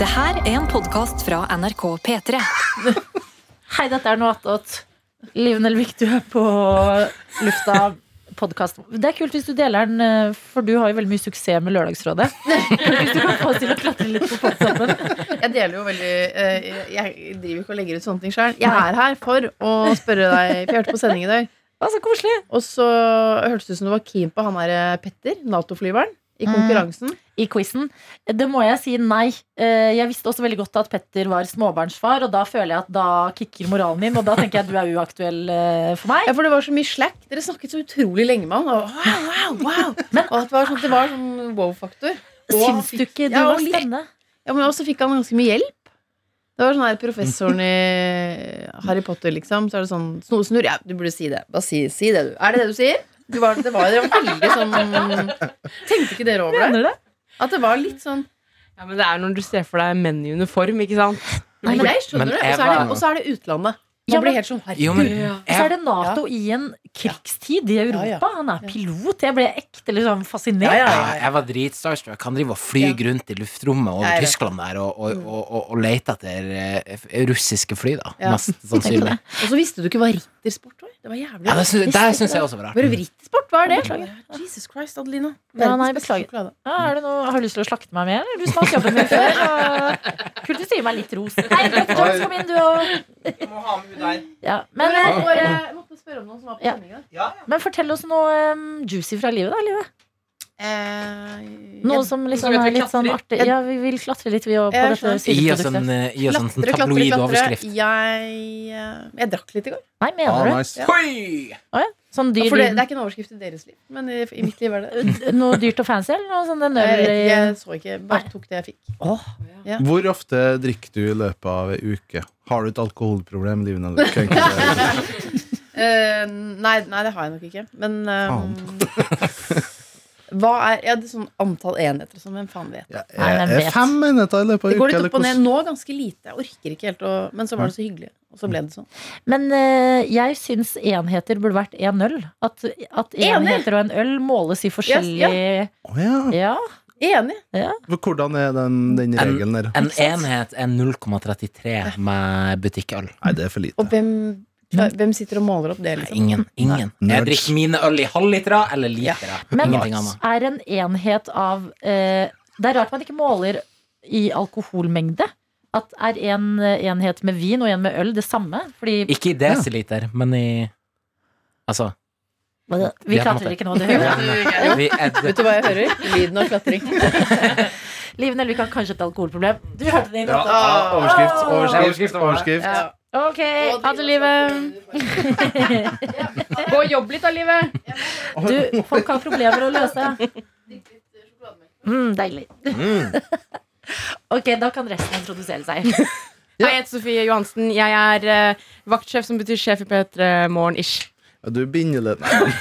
Det her er en podkast fra NRK P3. Hei, dette er noe attåt. Liv Nelvik, du er på lufta. Podcast. Det er kult hvis du deler den, eh, for du har jo veldig mye suksess med Lørdagsrådet. Hvis du kan få oss til å klatre litt på podstoppen. Jeg deler jo veldig eh, Jeg driver ikke og legger ut sånne ting sjøl. Jeg er her for å spørre deg for Jeg hørte på sending i dag, Å, så koselig! og så hørtes det ut som du var keen på han der eh, Petter, Nato-flyveren, i konkurransen. i quizen. Det må jeg si nei. Eh, Jeg visste også veldig godt at Petter var småbarnsfar, og da føler jeg at da kicker moralen min, og da tenker jeg at du er uaktuell eh, for meg. Ja, for det var så mye slack. Dere snakket så utrolig lenge med han. Og, wow, wow, wow. og at det var sånn, det var sånn wow-faktor. Og han Syns du fikk- ikke du Ja, og var litt- spennende? Ja, men også fikk han ganske mye hjelp. Det var sånn her professoren i Harry Potter, liksom. Så er det sånn Sno snurr. Ja, du burde si det. Bare si, si det, du. Er det det du sier? Du var, det var det var veldig sånn Tenkte ikke dere over det? Mener du det? At det var litt sånn Ja, men Det er når du ser for deg menn i uniform, ikke sant? Nei, men- jeg skjønner men det. Og så er det, Eva- og så er det utlandet. Man Ja, men- blir helt sånn herregud. Jo, men Og så er jeg, det Nato i en krigstid i Europa. Ja, ja. Han er pilot. Jeg ble ekte liksom fascinert. Ja, ja, jeg var dritstarstruck. Han driver og flyr rundt i luftrommet Jeg over vet. Tyskland der og, og, og, og, og leter etter eh, russiske fly, da. Ja. Mest sannsynlig. Og så visste du ikke hva rittersport var. Det var jævlig Ja, det syns, der syns jeg også var rart. Bare rittersport, hva er det? Jesus Christ, Adelina. Ja, nei, Verdens beste beklager. sjokolade. Ja, Ah, er det noe, har du lyst til å slakte meg med, eller? Du smalt jobben min før. Og... Kult hvis du gir meg litt ros. Hei, Dr. Jones, kom inn, du og ja. men, Men jeg eh, bare- jeg måtte spørre om noen som var på Ja. sendinga. men fortell oss noe eh, juicy fra livet, da. Livet. Eh, Noe jeg- som som liksom gjør at er vi litt sånn klatrer. artig. Ja, vi vil klatre litt, vi òg, på Jeg dette skjønner. Gi oss en, sideproduktet. eh, gi oss en sånn Klatre, klatre, tabloid klatre. overskrift. Jeg, eh, jeg drakk litt i går. Nei, mener du? Ah, det? nice. Sånn dyr, For det, det er ikke en overskrift i deres liv, men i, i mitt liv er Eh, det. noe dyrt og fancy, eller noe sånn Jeg, nødvendig vet ikke, jeg så ikke, bare tok det jeg fikk. Hvor ofte drikker du i løpet av ei uke? Har du et alkoholproblem? Liv Nelvik? Kan ikke det- Eh, nei, nei, det har jeg nok ikke. Men eh, hva er ja, det er sånn antall enheter og sånn? Hvem faen vet? Ja, Nei, er men det vet. fem enheter i løpet av Det ei går uke? litt eller opp og ned. hvordan- Nå ganske lite. Jeg orker ikke helt å Men så var det så hyggelig, og så ble det sånn. Men eh, jeg syns enheter burde vært én øl. At, at Enig. enheter og en øl måles i forskjellige Å, ja. ja. Enig. For Hvordan er den, den regelen der? En enhet er 0,33 med butikkøl. Nei, det er for lite. Og hvem, hvem sitter og måler opp det, liksom? Ingen. ingen Nei, Jeg nerds. drikker mine øl i halvlitere eller litere. Men Ingenting annet. er en enhet av eh, Det er rart man ikke måler i alkoholmengde. At er en eh, enhet med vin og en med øl det samme? Fordi Ikke i desiliter, men i Altså. vi klatrer ikke nå, det hører jeg. Vi er, Vet du hva jeg hører? Lyden av klatring. Liv Nelvik har kanskje et alkoholproblem. Du hørte det i natt. Ah, overskrift, overskrift, overskrift. Ja. Ok, ha det, livet. Gå og jobb litt av livet! Du, folk har problemer å løse. eh, Mm, deilig. ok, da kan resten introdusere seg. Hei, jeg heter Sofie Johansen. Jeg er eh, vaktsjef, som betyr sjef i P3 Morgen-ish. Ja, Du binder litt Nei.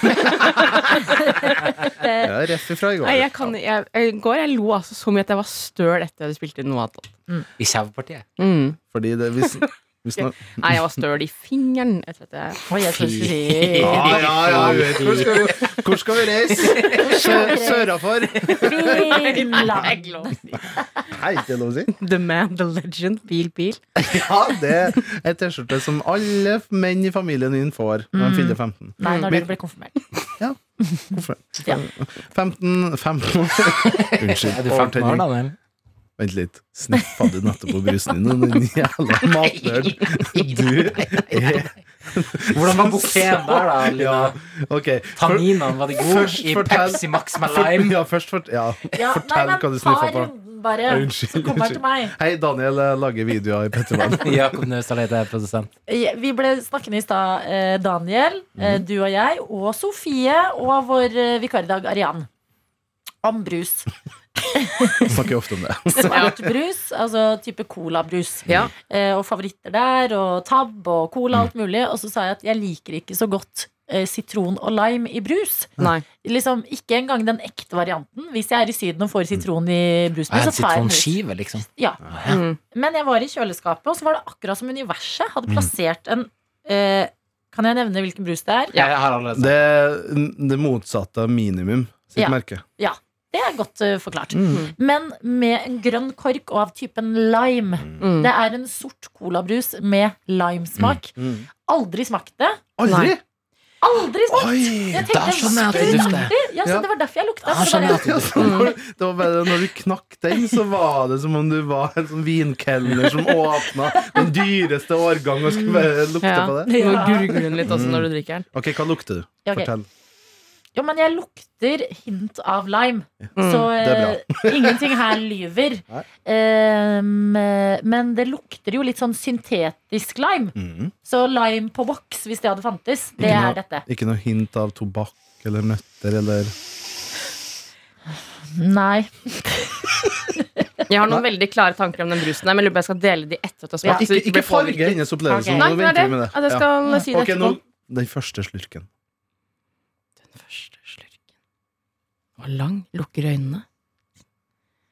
Jeg er rett ifra i går. Nei, jeg kan, jeg, jeg, I går jeg lo altså så mye at jeg var støl etter jeg hadde spilt inn noe annet. I Skjevpartiet. Mm. Fordi det hvis, hvis nå- Nei, jeg var støl i fingeren etter at jeg Oi, jeg tror jeg skulle si Ja, ja, ja, vi vet hvor skal vi, hvor skal vi reise? Sø- Sørafor? Finland. Hei, det er lov å si. The man, the legend, bil, bil. Ja, det er ei T-skjorte som alle menn i familien din får når de fyller 15. Mm. Nei, når dere ble konfirmert. Hvorfor? Ja. 15 15 Er Unnskyld. du 15 år, overtenning. Daniel? Vent litt. Sniffa du nettopp på brusen din, den jævla matnølen? Du er Hvordan var buffeen der, da? Lina? Ja, OK. For- Tanninene, var de gode? Først I fortell- Pepsi Max med for- lime? Ja, først fort, ja. Ja, Fortell nei, men hva du sniffer ta på. runden Bare, Unnskyld, så kommer han unnskyld. til meg. Hei, Daniel eh, lager videoer i Pettermann. Jakob Naustdal heter jeg, produsent. Eh, Vi ble snakkende i stad, eh, Daniel, eh, Mhm. du og jeg, og Sofie, og vår eh, vikar i dag, Arian. Om brus. Snakker ofte om det. Svart brus, altså type colabrus. Ja. eh, og favoritter der, og tab og cola, Mhm. alt mulig. Og så sa jeg at jeg liker ikke så godt eh, sitron og lime i brus. Nei. Liksom Ikke engang den ekte varianten. Hvis jeg er i Syden og får sitron i brusen, Jeg min, er så en tar jeg en brus. sitronskive, liksom. Ja. Mm. Men jeg var i kjøleskapet, og så var det akkurat som universet hadde plassert en eh, Kan jeg nevne hvilken brus det er? Ja. Jeg har allerede sagt Det er det motsatte av minimum sitt Ja. merke. Det er godt eh, forklart. Men med en grønn kork og av typen lime. Mm. Det er en sort colabrus med limesmak. Mm. Mm. Aldri smakt det. Aldri! Aldri smakt Oi! Jeg tenkte, da skjønner jeg at det "Skulle dufter." artig. Ja, så Ja. Det var derfor jeg lukta. Da så bare- Ah, skjønner jeg at Ja, Mm. så når- det var bare Når du knakk den, så var det som om du var en sånn vinkelner som åpna den dyreste årgang og skulle bare lukte Ja. på det. Nå Ja. gurgler den litt også Mm. når du drikker den. Ok, hva lukter du? Ja, ok. Fortell. Jo, men jeg lukter hint av lime. Mm. Så det er eh, ingenting her lyver. Nei. Ehm, eh, men det lukter jo litt sånn syntetisk lime. Mm. Så lime på boks, hvis det hadde fantes, det Ikke noe- er dette. Ikke noe hint av tobakk eller nøtter eller Nei. Jeg har noen veldig klare tanker om den brusen, her, men lurer på om jeg skal dele de etter at du har Ja. smakt. så du Ikke, ikke ikke blir farge påvirket. hennes Ok. opplevelse. Nå Nei, det er venter det. vi med det. At jeg Ja. skal si det Ok, etterpå. nå Den første slurken. Den første slurken var lang. Lukker øynene.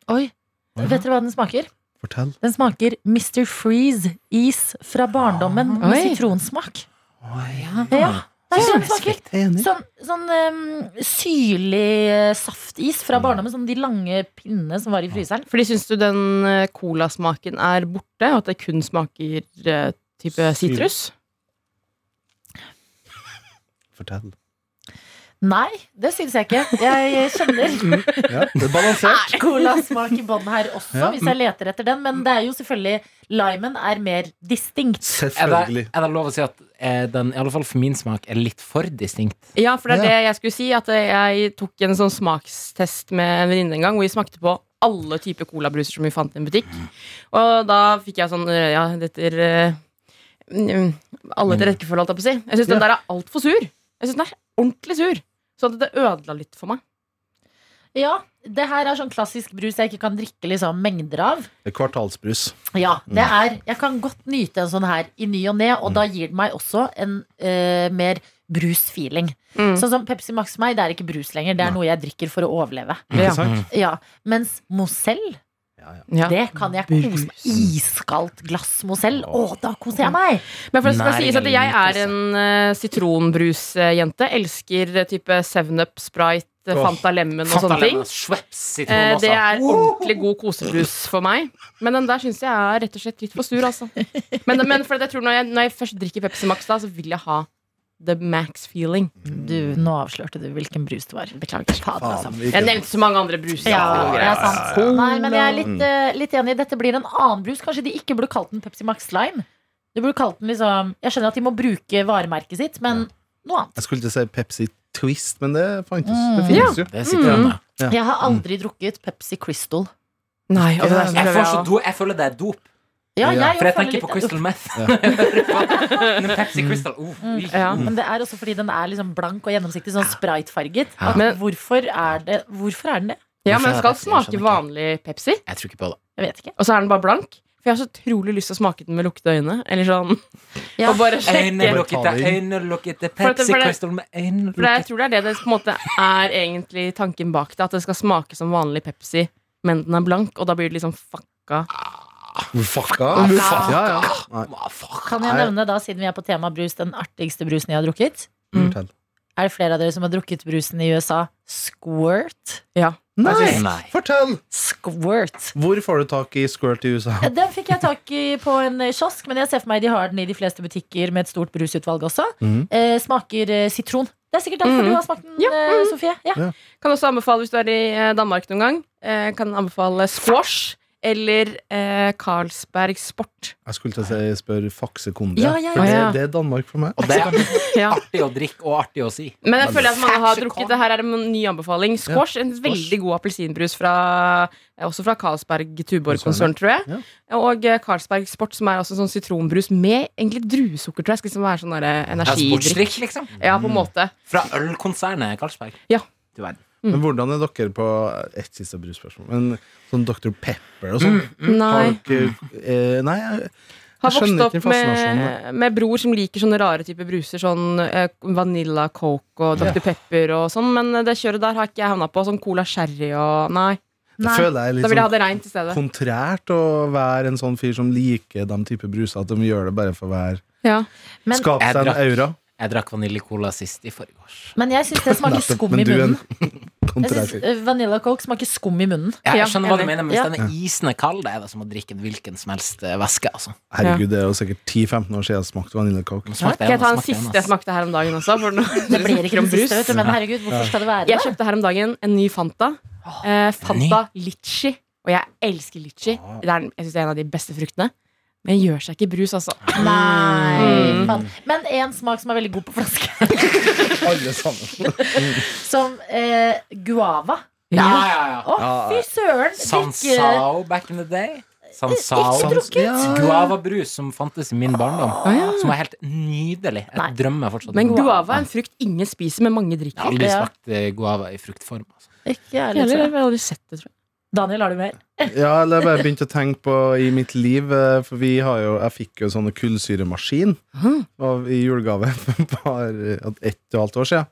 Oi. Vet dere hva den smaker? Fortell. Den smaker Mr. Freeze-is fra barndommen med Oi. sitronsmak. Ja. Ja, det er det den smaker. Enig. Sånn, sånn ehm, syrlig eh, saftis Mm. fra barndommen. Sånn de lange pinnene som var i fryseren. Fordi syns du den eh, colasmaken er borte, og at det kun smaker eh, type Syre. sitrus? Fortell. Nei, det syns jeg ikke. Jeg kjenner Ja, det er balansert. colasmak i bånn her også, Ja. hvis jeg leter etter den. Men det er jo selvfølgelig limen er mer distinkt. Er det, Selvfølgelig. er det lov å si at eh, den, i alle fall for min smak, er litt for distinkt? Ja, for det er Ja. det jeg skulle si. At eh, jeg tok en sånn smakstest med en venninne en gang, hvor vi smakte på alle typer colabruser som vi fant i en butikk. Mm. Og da fikk jeg sånn eh, Ja, dette er eh, mm, Alle etter rekkefølge, holdt jeg på å si. Jeg syns den der er altfor sur. Jeg syns den er ordentlig sur. Så det ødela litt for meg. Ja, det her er sånn klassisk brus jeg ikke kan drikke liksom mengder av. Det er Kvartalsbrus. Ja, det er Jeg kan godt nyte en sånn her i ny og ne, og da gir den meg også en eh, mer brus-feeling. Sånn som Pepsi Max for meg, det er ikke brus lenger. Det er noe jeg drikker for å overleve. Ja. Ikke sant? Ja, Mens Mozell Ja. Det kan jeg kose meg Iskaldt glass Mozell. Å, da koser jeg meg! Men for det skal Næring sies at eller jeg er nytelse. en eh, sitronbrusjente. Elsker eh, type 7-Up, Sprite, eh, Åh. Fanta Lemon og Sånn sånne ting. altså. Schweppes, Eh, sitron det også. er ordentlig god kosebrus for meg. Men den der syns jeg er rett og slett litt for sur, altså. Men, men for jeg tror når, jeg, når jeg først drikker Pepsi Max, da, så vil jeg ha the max feeling. Du, Nå avslørte du hvilken brus det var. Beklager. Fader, altså. Faen, Jeg hvilken- nevnte så mange andre bruser. Ja, og det greier. er sant. Nei, men jeg er litt, eh, litt enig. Dette blir en annen brus. Kanskje de ikke burde kalt den Pepsi Max Lime. De burde kalt den liksom Jeg skjønner at de må bruke varemerket sitt, men noe annet. Jeg skulle ikke si Pepsi Twist, men det fantes. Det Mm. finnes jo. Det er sitron, ja. Ja. Jeg har aldri drukket Pepsi Crystal. Nei, og det der så Jeg, prøver får så jeg å- do, jeg føler det er dop. Ja, Ja, jeg, For jeg føler tenker litt- på Crystal Meth. når jeg hører på- Men Pepsi Crystal oh, mm. ja. Men det er også fordi den er liksom blank og gjennomsiktig, sånn spritefarget. Ja. At Men- Hvorfor er det Hvorfor er den det? ja, men den skal Jeg skjønner smake ikke. vanlig Pepsi, Jeg tror ikke på det. Jeg vet ikke. og så er den bare blank. For jeg har så utrolig lyst til å smake den med lukkede øyne. Eller sånn Ja. Og bare sjekke. Øynelukkete, øynelukkete For at det- Pepsi for det- Crystal med For jeg øynelukkete tror det er det det på en måte er egentlig tanken bak det. At det skal smake som vanlig Pepsi, men den er blank, og da blir det liksom fucka. Fucka. Fucka. Ja, ja. Nei, Hva faen? Kan jeg nevne, da, siden vi er på tema brus, den artigste brusen jeg har drukket? Mm. fortell. Er det flere av dere som har drukket brusen i USA? Squirt. Nei. Nei, fortell! Squirt. Hvor får du tak i squirt i USA? Eh, Den fikk jeg tak i på en eh, kiosk, men jeg ser for meg de har den i de fleste butikker med et stort brusutvalg også. Mm. Mhm. Eh, smaker eh, sitron. Det er sikkert derfor Mhm. du har smakt den, Ja, eh, Sofie. Ja. Ja. Kan også anbefale hvis du er i eh, Danmark noen gang. Eh, kan anbefale squash eller eh, Carlsberg Sport. Jeg skulle til å si spør faksekondia. Ja, ja, for ja. Det, det er Danmark for meg. Og det er sånn Ja. artig å drikke og artig å si. Men jeg føler at mange har drukket det her er en ny anbefaling. Squash, en veldig god appelsinbrus fra, eh, også fra Carlsberg Tuborg-konsern, tror jeg. Og eh, Carlsberg Sport, som er også en sånn sitronbrus med egentlig druesukker, tror jeg. Skal liksom være sånn der, eh, Det er energidrikk. Sportsdrikk, liksom. Ja, på en måte. Fra ølkonsernet Carlsberg. Ja. Du verden. Mm. Men hvordan er dere på et siste brusspørsmål? Men sånn Dr. Pepper og sånn? Har Mm. Nei. dere eh, Nei, Har jeg- Jeg vokst skjønner ikke opp med, fascinasjonen. med bror som liker sånne rare typer bruser, sånn eh, vanilla coke og Dr. Pepper og sånn, men det kjøret der har ikke jeg havna på. Sånn cola sherry og Nei. det føler jeg er Da vil jeg ha litt det reint i stedet. sånn kontrært å være en sånn fyr som liker de type bruser, at de gjør det bare for å være Ja. Men- Skape seg Jeg en drakk- aura. Jeg drakk vaniljekola sist i forgårs. Men jeg syns det smaker Nettopp, skum i men du er en munnen. Jeg synes kontrafaktisk. eh, Vanilla Coke smaker skum i munnen. Ja, Ja, jeg skjønner hva du enig. mener, men hvis Ja. den er isende kald, det er det som å drikke en hvilken som helst eh, væske. Altså. Herregud, det er jo sikkert 10-15 år siden jeg smakte vaniljekoke. Smakte Kan jeg ta en, en smakte en, siste ass. jeg smakte her om dagen også? For nå, Det blir ikke om det siste, brus. vet du, men herregud, hvorfor skal det være Jeg det? kjøpte her om dagen en ny Fanta. Eh, Fanta litchi. Og jeg elsker litchi. Det er, den- jeg synes det er en av de beste fruktene. Men gjør seg ikke brus, altså. Nei. faen. Men én smak som er veldig god på flaske, Alle sammen. som eh, guava. Ja, ja, ja. Å, fy søren! drikke- Sansao back in the day. Ikke Sansao. drukket. Guavabrus som fantes i min barndom. Som var helt nydelig. Nei. Jeg drømmer fortsatt. Men om. guava er en frukt ingen spiser, men mange drikker. Jeg har aldri Ja. smakt eh, guava i fruktform. Altså. Ikke jeg Heller, heller. jeg har aldri sett det, tror jeg. Daniel, har du mer? Ja, eller jeg bare begynte å tenke på i mitt liv, eh, for vi har jo, jeg fikk jo sånne kullsyremaskin av, i julegave for bare ett og et halvt år siden.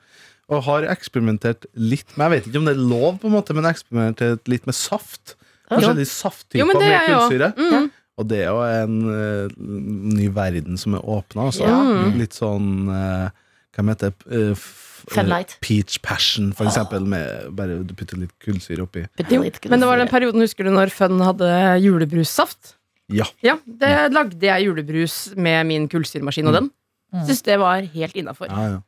Og har eksperimentert litt med, jeg vet ikke om det er lov på en måte, men jeg har eksperimentert litt med saft. Forskjellige Jo, safttyper men det med er jo kullsyre. mm. Og det er jo en eh, ny verden som er åpna, altså. Ja. Litt sånn eh, Hva heter det? Eh, f- Fun Light. eh, Peach passion, Ah. for eksempel. Med, bare du putter litt kullsyre oppi. Jo, Men det var den perioden, husker du, når Fun hadde julebrussaft? Mm. Ja. Ja, det lagde jeg julebrus med min kullsyremaskin og den. Syns det var helt innafor. Ja, ja.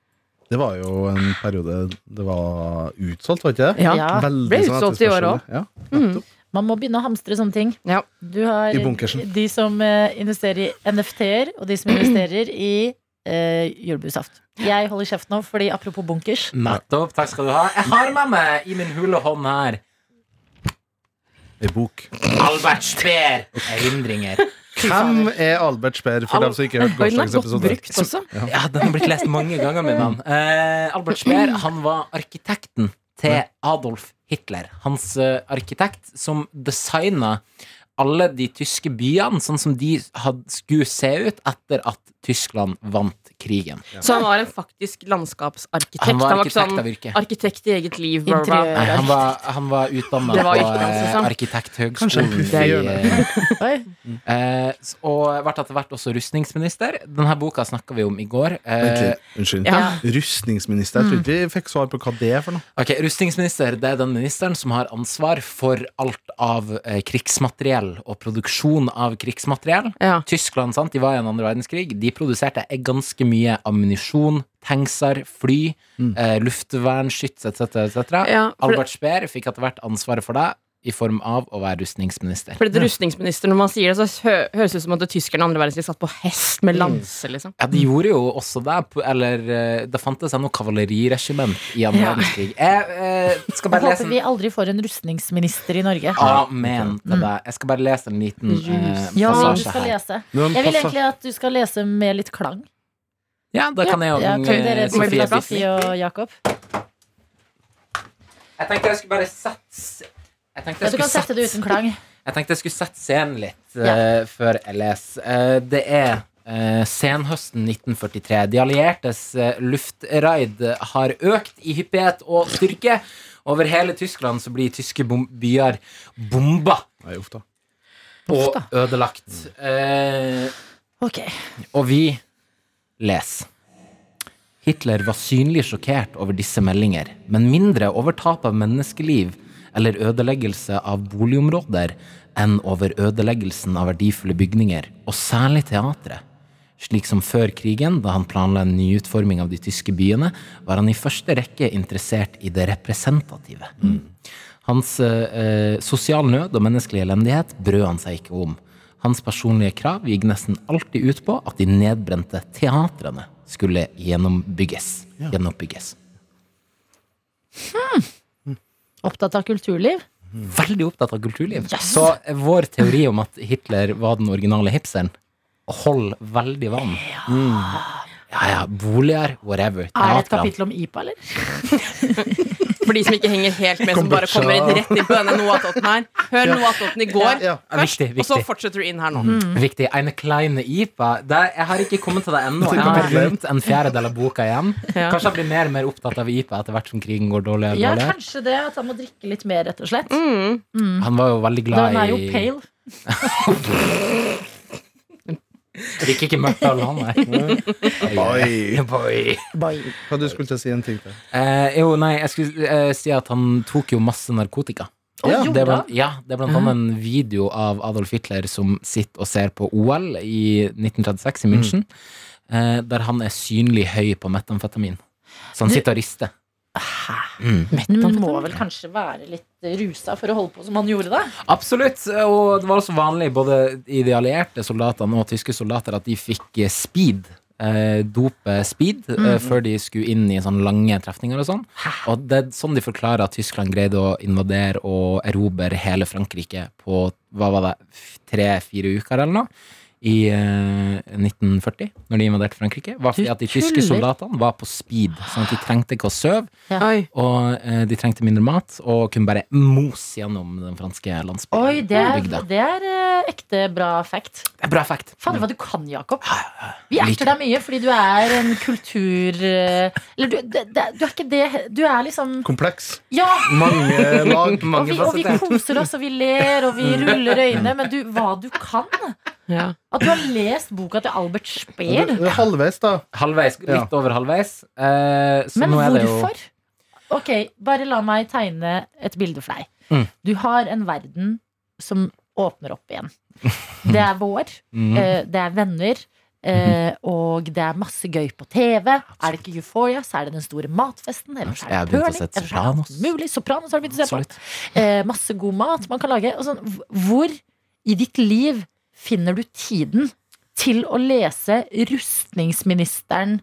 Det var jo en periode det var utsolgt, var ikke det? Ja. Ja. Veldig Ble sånn utsolgt i år etterspørsel. også. Ja. Man må begynne å hamstre sånne ting. Ja. Du har I bunkersen. de som eh, investerer i NFT-er, og de som investerer i eh, julebrussaft. Jeg holder kjeft nå, fordi apropos bunkers Nettopp. Takk skal du ha. Jeg har med meg i min hule hånd her Ei bok. Albert Speer. Erindringer. Hvem er Albert Speer, for dem som ikke har hørt Oi, den er gårsdagens godt episode? brukt også. Ja, den har blitt lest mange ganger, min mann. Eh, Albert Speer han var arkitekten til Adolf Hitler. Hans eh, arkitekt som designa alle de tyske byene sånn som de had, skulle se ut etter at Tyskland vant krigen. Så han var en faktisk landskapsarkitekt. Han var ikke arkitekt av yrke. sånn arkitekt i eget liv. Bla, bla, bla. Nei, han var, han var utdanna Det var på yrket hans, eh, liksom. Arkitekthøgskolen puff i i hjørnet. Oi. eh, s- Og ble etter hvert også rustningsminister. Denne boka snakka vi om i går. Vent Eh, litt. Unnskyld. Ja. Mm. Rustningsminister. Jeg tror ikke vi fikk svar på hva det er for noe. Ok, Rustningsminister det er den ministeren som har ansvar for alt av eh, krigsmateriell og produksjon av krigsmateriell. Ja. Tyskland sant, de var i en andre verdenskrig. De produserte eh, ganske mye ammunisjon, tankser, fly, eh, luftvernskyts etc. etc. Ja, for- Albert Speer fikk etter hvert ansvaret for det i form av å være rustningsminister. Fordi det rustningsminister, Når man sier det, så hø høres det ut som at tyskerne andre verdenskrig satt på hest med lanse. liksom Ja, de gjorde jo også det. på- Eller eh, det fantes ennå kavaleriregiment i andre Ja. verdenskrig. Jeg eh, skal Jeg bare lese håper vi aldri får en rustningsminister i Norge. Amen til deg. Jeg skal bare lese en liten eh, Ja, du passasje skal her. lese. Nå er den Jeg vil passa- egentlig at du skal lese med litt klang. Ja, da kan jeg jo Ja, den, kan eh, dere Sofie Sofie, Sofie. og Jakob? Jeg tenkte jeg skulle bare sette jeg Ja, tenkte jeg, du skulle kan sette sette, det uten klang. jeg tenkte jeg skulle sette scenen litt eh, før jeg leser. Eh, det er eh, senhøsten 1943. De alliertes eh, luftraid har økt i hyppighet og styrke. Over hele Tyskland så blir tyske bom byer bomba Nei, uff da. og ødelagt. Eh, Ok. Og vi leser. Hitler var synlig sjokkert over disse meldinger, men mindre over tap av menneskeliv eller ødeleggelse av boligområder enn over ødeleggelsen av verdifulle bygninger, og særlig teatret. Slik som før krigen, da han planla en nyutforming av de tyske byene, var han i første rekke interessert i det representative. Hans eh, eh, sosial nød og menneskelig elendighet brød han seg ikke om. Hans personlige krav gikk nesten alltid ut på at de nedbrente teatrene skulle gjenombygges. Gjenoppbygges. Opptatt av kulturliv? Veldig opptatt av kulturliv. Så eh, vår teori om at Hitler var den originale hipsteren, hold veldig vann. Ja, ja. ja boliger, whatever. Er det Ah, et Teatrene. kapittel om IPA, eller? For de som ikke henger helt med, som bare Kombucha. kommer inn rett inn på denne Noatoten her. Hør Noatoten i går Ja. Ja, først, viktig, og så viktig. fortsetter du inn her nå. Viktig. Eine kleine IPA. Det, jeg har ikke kommet til det ennå. Jeg har rundt en fjerdedel av boka igjen. Ja. Kanskje jeg blir mer og mer opptatt av IPA etter hvert som krigen går dårligere. og Ja, dårligere. kanskje det. At han må drikke litt mer, rett og slett. Mm. Han var jo veldig glad Den er jo i pale. drikker ikke mørkt alle han der. Oi. Boy. Hva du skulle til å si en ting til? Eh, jo, nei, jeg skulle eh, si at han tok jo masse narkotika. Ja. det, gjorde er han? Mhm. blant, ja, det er blant annet en video av Adolf Hitler som sitter og ser på OL i 1936 i München, Mm. eh, der han er synlig høy på metamfetamin. Så han sitter og rister. Mm. Men man må vel kanskje være litt rusa for å holde på som han gjorde, da? Absolutt. Og det var også vanlig både i de allierte soldatene og tyske soldater at de fikk eh, speed. Eh, dope speed eh, før de skulle inn i sånne lange trefninger og sånn. Og det er sånn de forklarer at Tyskland greide å invadere og erobre hele Frankrike på hva var det, tre-fire uker eller noe. I eh, 1940, når de invaderte Frankrike, var fordi at de tyske tuller. soldatene var på speed. Sånn at de trengte ikke å sove, Oi. og eh, de trengte mindre mat, og kunne bare mose gjennom den franske landsbyen. Oi, det er, bygda. det er eh, ekte bra fact. Det er bra fact. Fader, hva du kan, Jakob. Vi Liker. erter deg mye fordi du er en kultur... eh, Eller du, det, det, du er ikke det Du er liksom Kompleks. Ja! Mange Og lag. vi, og vi fasetter. Mm. koser oss, og vi ler, og vi ruller øynene. Men du, hva du kan? Ja. At du har lest boka til Albert Speer. Det er Halvveis, da. Halvveis, litt Ja. over halvveis. Eh, så Men nå er det jo hvorfor? Ok, bare la meg tegne et bilde for deg. Mm. Du har en verden som åpner opp igjen. Det er vår, Mhm. eh, det er venner, eh, og det er masse gøy på TV. Er det ikke Euphoria, så er det Den store matfesten. Eller så Jeg er har det begynt å curling. sett Eller så er det alt Sopranos. mulig. Sopranos har du begynt å se på. Absolutt. Eh, masse god mat man kan lage. Og sånn, h- hvor i ditt liv finner du tiden til å lese rustningsministeren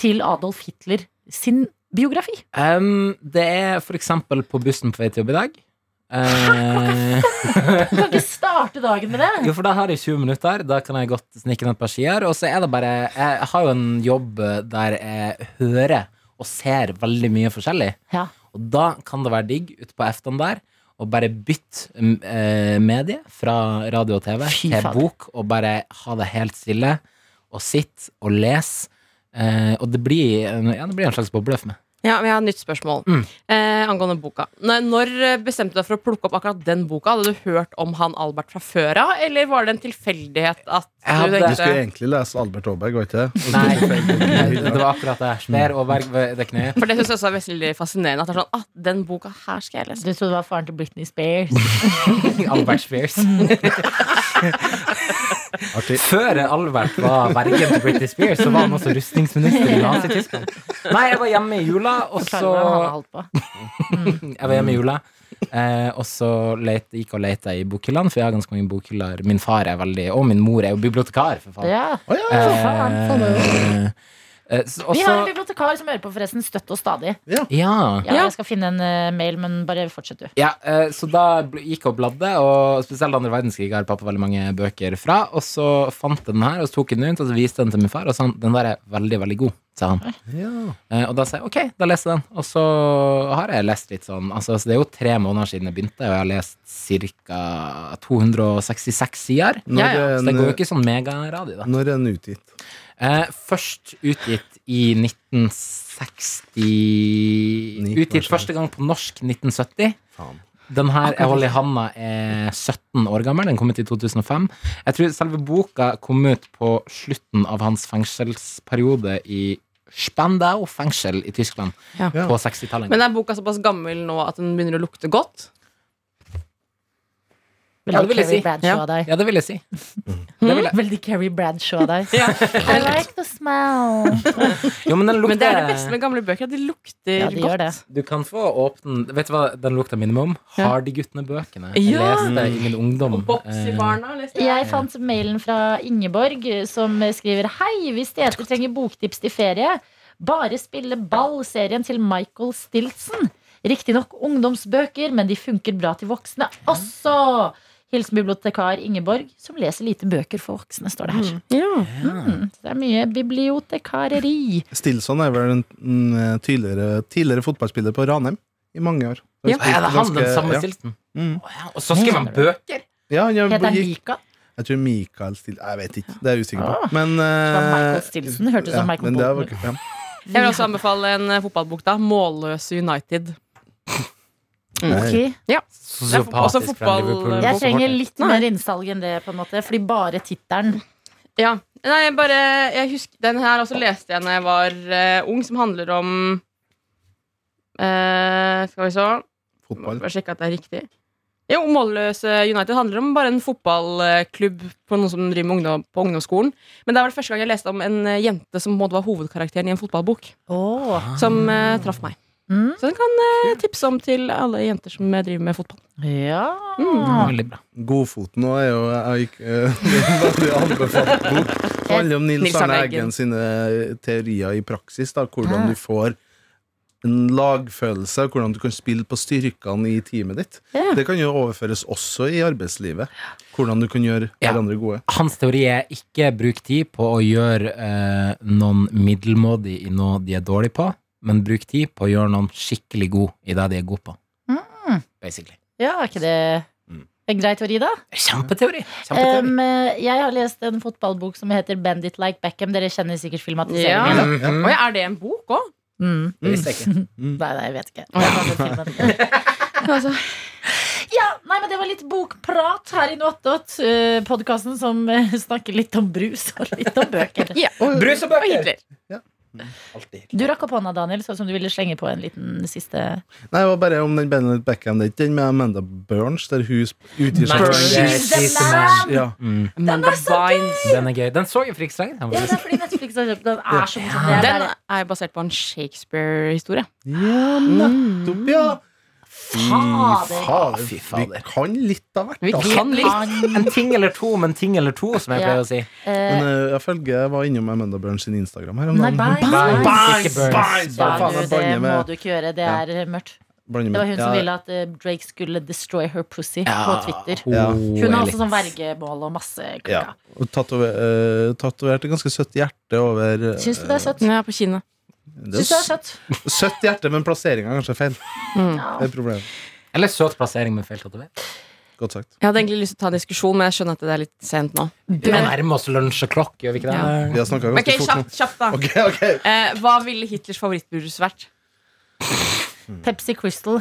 til Adolf Hitler sin biografi? Em, det er for eksempel på bussen på vei til jobb i dag. Eh, Du kan ikke starte dagen med det! jo, for da har jeg 20 minutter. Da kan jeg godt snike ned et par skier. Og så er det bare Jeg har jo en jobb der jeg hører og ser veldig mye forskjellig. Ja. Og da kan det være digg ute på eftan der å bare bytte mm, eh, medie fra radio og TV Fy til fader. bok, og bare ha det helt stille, og sitte og lese. Eh, og det blir, en- ja, det blir en slags boble for meg. Ja, men Jeg har et nytt spørsmål Mm. eh, angående boka. Når, når eh, bestemte du deg for å plukke opp akkurat den boka? Hadde du hørt om han Albert fra før av, eller var det en tilfeldighet at Jeg hadde- du Du skulle tenkte egentlig lese Albert Aaberg, var ikke det? Nei, det var akkurat det. Smer og berg ved det kneet. For det syns jeg også er veldig fascinerende. At det er sånn, ah, den boka her skal jeg lese. Du trodde det var faren til Britney Spears. Albert Spears. Artig. Mm. Før Albert var vergen til Britney Spears, så var han også rustningsminister i Nazi-Tyskland. Nei, jeg var hjemme i jula, og Forklar hva han har så holdt på. Jeg var hjemme Mm. i jula. Eh, og så leit- gikk og leita i bokhyllene, for jeg har ganske mange bokhyller. Min far er veldig Og min mor er jo bibliotekar, for faen. Ja. Å, ja, ja. Eh, eh, så- og Vi har en så bibliotekar som hører på, forresten. Støtt oss stadig. Ja. Ja, jeg skal finne en eh, mail, men bare fortsett, du. Ja, eh, så da bl- gikk jeg og bladde, og spesielt andre verdenskrig har pappa veldig mange bøker fra. Og så fant jeg den her, og så tok jeg den ut, og så viste jeg den til min far, og sa han, den der er veldig, veldig god, sa han. Ja. Eh, Og da sa jeg ok, da leser jeg den. Og så har jeg lest litt sånn, altså så det er jo tre måneder siden jeg begynte, og jeg har lest ca. 266 sider. Når Ja, Så det eh, er går jo en, ikke sånn megaradio, da. når er den utgitt? Eh, først utgitt i 1960 Ni, Utgitt kanskje. første gang på norsk 1970. Faen. Den her jeg holder i handa, er 17 år gammel. Den kom ut i 2005. Jeg tror selve boka kom ut på slutten av hans fengselsperiode i Spandau fengsel i Tyskland Ja. på 60-tallet. Men er boka såpass gammel nå at den begynner å lukte godt? Ja, det vil jeg Carrie si. Bradshaw av deg. Ja, det vil jeg si. Veldig Carrie Bradshaw av deg. Ja. I like the smell. Jo, men den Men det er det beste lukter med gamle bøker, at de lukter Ja, de gjør godt. det. Du kan få åpne Vet du hva den lukta minner meg om? Ja. Hardyguttene-bøkene. Jeg Ja. leste i min ungdom. eh, Bopsibarna, leste jeg. Jeg fant mailen fra Ingeborg eh, som skriver Hei, hvis dere trenger boktips til ferie, bare spille ball-serien til Michael Stiltsen. Riktignok ungdomsbøker, men de funker bra til voksne også. Hilsen bibliotekar Ingeborg, som leser lite bøker for voksne, står det her. Eh, Mm, så det er mye bibliotekareri. Stilson er vel en, en eh, tidligere, tidligere fotballspiller på Ranheim i mange år. Har Ja. spilt Er det han, ganske- den samme ja. stilten? Mm. Å ja, Og så skrev han bøker? Ja, han Heter han gikk- Mika? Jeg tror Mikael Stil... Jeg vet ikke, det er jeg usikker Ah. på. Men var Michael eh, Stilson, hørtes ut som Michael men det var- Bolton. ja. Jeg vil også anbefale en eh, fotballbok, da. Målløse United. Ok. Også Sosiopatisk fra fotball- Liverpool. Jeg Jeg trenger supporter. litt mer innsalg enn det, på en måte, fordi bare tittelen Ja, Nei, jeg bare jeg husker, Den her også leste jeg da jeg var eh, ung, som handler om eh, Skal vi se Må Fotball. Bare sjekke at det er riktig. Jo, Målløse United handler om bare en fotballklubb på noen som driver med ungdom, på ungdomsskolen. Men det var det første gang jeg leste om en eh, jente som på en måte var hovedkarakteren i en fotballbok. Åh. Som eh, traff meg. Mm. Så den kan eh, tipse om til alle jenter som eh, driver med fotball. Ja. Veldig bra. Godfoten òg er jo jeg, jeg, det er en veldig anbefalt bok. Det handler om Nils Nils Arne Arne Eggen. Eggen sine eh, teorier i praksis. Da, hvordan du får en lagfølelse, hvordan du kan spille på styrkene i teamet ditt. Ja. Det kan jo overføres også i arbeidslivet. Hvordan du kan gjøre Ja. hverandre gode. Hans teori er ikke bruk tid på å gjøre eh, noen middelmådig i noe de er dårlige på, men bruk tid på å gjøre noen skikkelig god i det de er gode på. Mm. Basically. ja, er ikke det Mm. en grei teori, da? Kjempeteori! Kjempeteori. Um, jeg har lest en fotballbok som heter Bandit Like Beckham. Dere kjenner sikkert filmatiseringen. Ja. Mhm. Oi, er det en bok òg? Mm. Det visste jeg ikke. Nei, nei, jeg vet ikke. Jeg har bare sett filmen. Ja, nei, men Det var litt bokprat her i Noatot. Uh, Podkasten som eh, snakker litt om brus og litt om bøker. Brus og Og bøker! Hitler. Alltid. Du rakk opp hånda, Daniel, sånn som du ville slenge på en liten siste Nei, det var bare om den Benedict Beckham, det er ikke den med Amanda Burns, der hun sp- utgir seg for Burns. She's the She's the man! Ja. Mm. Amanda Bynes. Den er gøy. Den så jeg for ikke så lenge. Ja, Den det er fordi Netflix har kjøpt den. er så morsom. Det er Den der- er jo basert på en Shakespeare-historie. Ja, nettopp, ja. Fy Fader. fader. Fy Vi fader. kan litt av hvert. Vi altså. kan litt. En ting eller to om en ting eller to, som jeg Ja. pleier å si. Eh, Men eh, jeg følger jeg var innom Amanda Burns sin Instagram her om Nei, dagen. bye. Burns, Burns, ikke Burns. Burns, Ja, Hva faen du, jeg det blander må med? du ikke gjøre. Det er eh, mørkt. blander Det med- var hun som Ja, ville at eh, Drake skulle destroy her pussy på Twitter. Ja. Oh, Hun har også sånn vergemål og masse Ja. klokka. Og tatover, eh, tatoverte ganske søtt hjerte over eh, Syns du det er søtt? Hun er på kinnet. det er Syns du det er søtt? Mm. Søtt hjerte, men plasseringa er kanskje feil. Ja. Det er problemet. Eller søt plassering med feil tatovering. Godt sagt. Jeg hadde egentlig lyst til å ta en diskusjon, men jeg skjønner at det er litt sent nå. Vi nærmer oss lunsj og klokk, gjør vi ikke det? Vi har snakka Ok, ganske fort nå. kjapt, kjapt da Ok, ok eh, Hva ville Hitlers favorittbrus vært? Pepsi Crystal.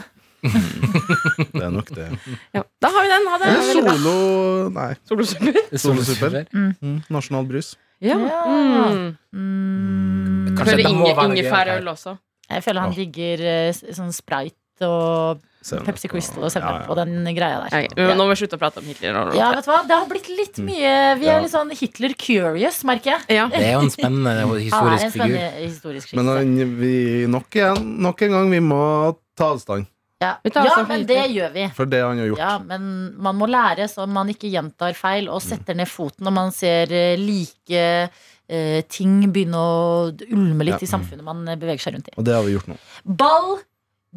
Det er nok det. Ja. Da har vi den, ha det Eller solo Nei. Solosuppe Solosuper. Mm. Mm. Nasjonal brus. ja. Ja. mm. Mm. Kanskje Prøver det må inge, være noe ingefærøl gøy. også Jeg føler han digger eh, s- sånn Sprite og Seven Pepsi Up. Crystal og Ja, 7-Up ja. og den greia der. Ok, Nå må vi slutte å prate om Hitler og- Ja, vet du hva? Det har blitt litt mye Vi Mm. Ja. er litt sånn Hitler-curious, merker jeg. ja. Det er jo en spennende Han er og en historisk figur. spennende historisk Men eh, skikkelse. han- vi, nok, igjen, nok en gang, vi må ta avstand Ja. Vi tar ja, avstand fra men Hitler. det gjør vi. for det han har gjort. Ja, men man må lære så man ikke gjentar feil, Mm. og setter ned foten når man ser eh, like eh, ting begynne å ulme litt Ja. mm. i samfunnet man eh, beveger seg rundt i. Og det har vi gjort nå. Ball,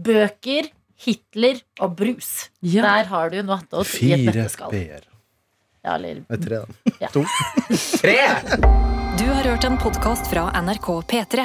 bøker, Hitler og brus. Der har du noe attåt i et nøtteskall. B-er. Ja, eller Nei, tre, da. Du har hørt en podkast fra NRK P3.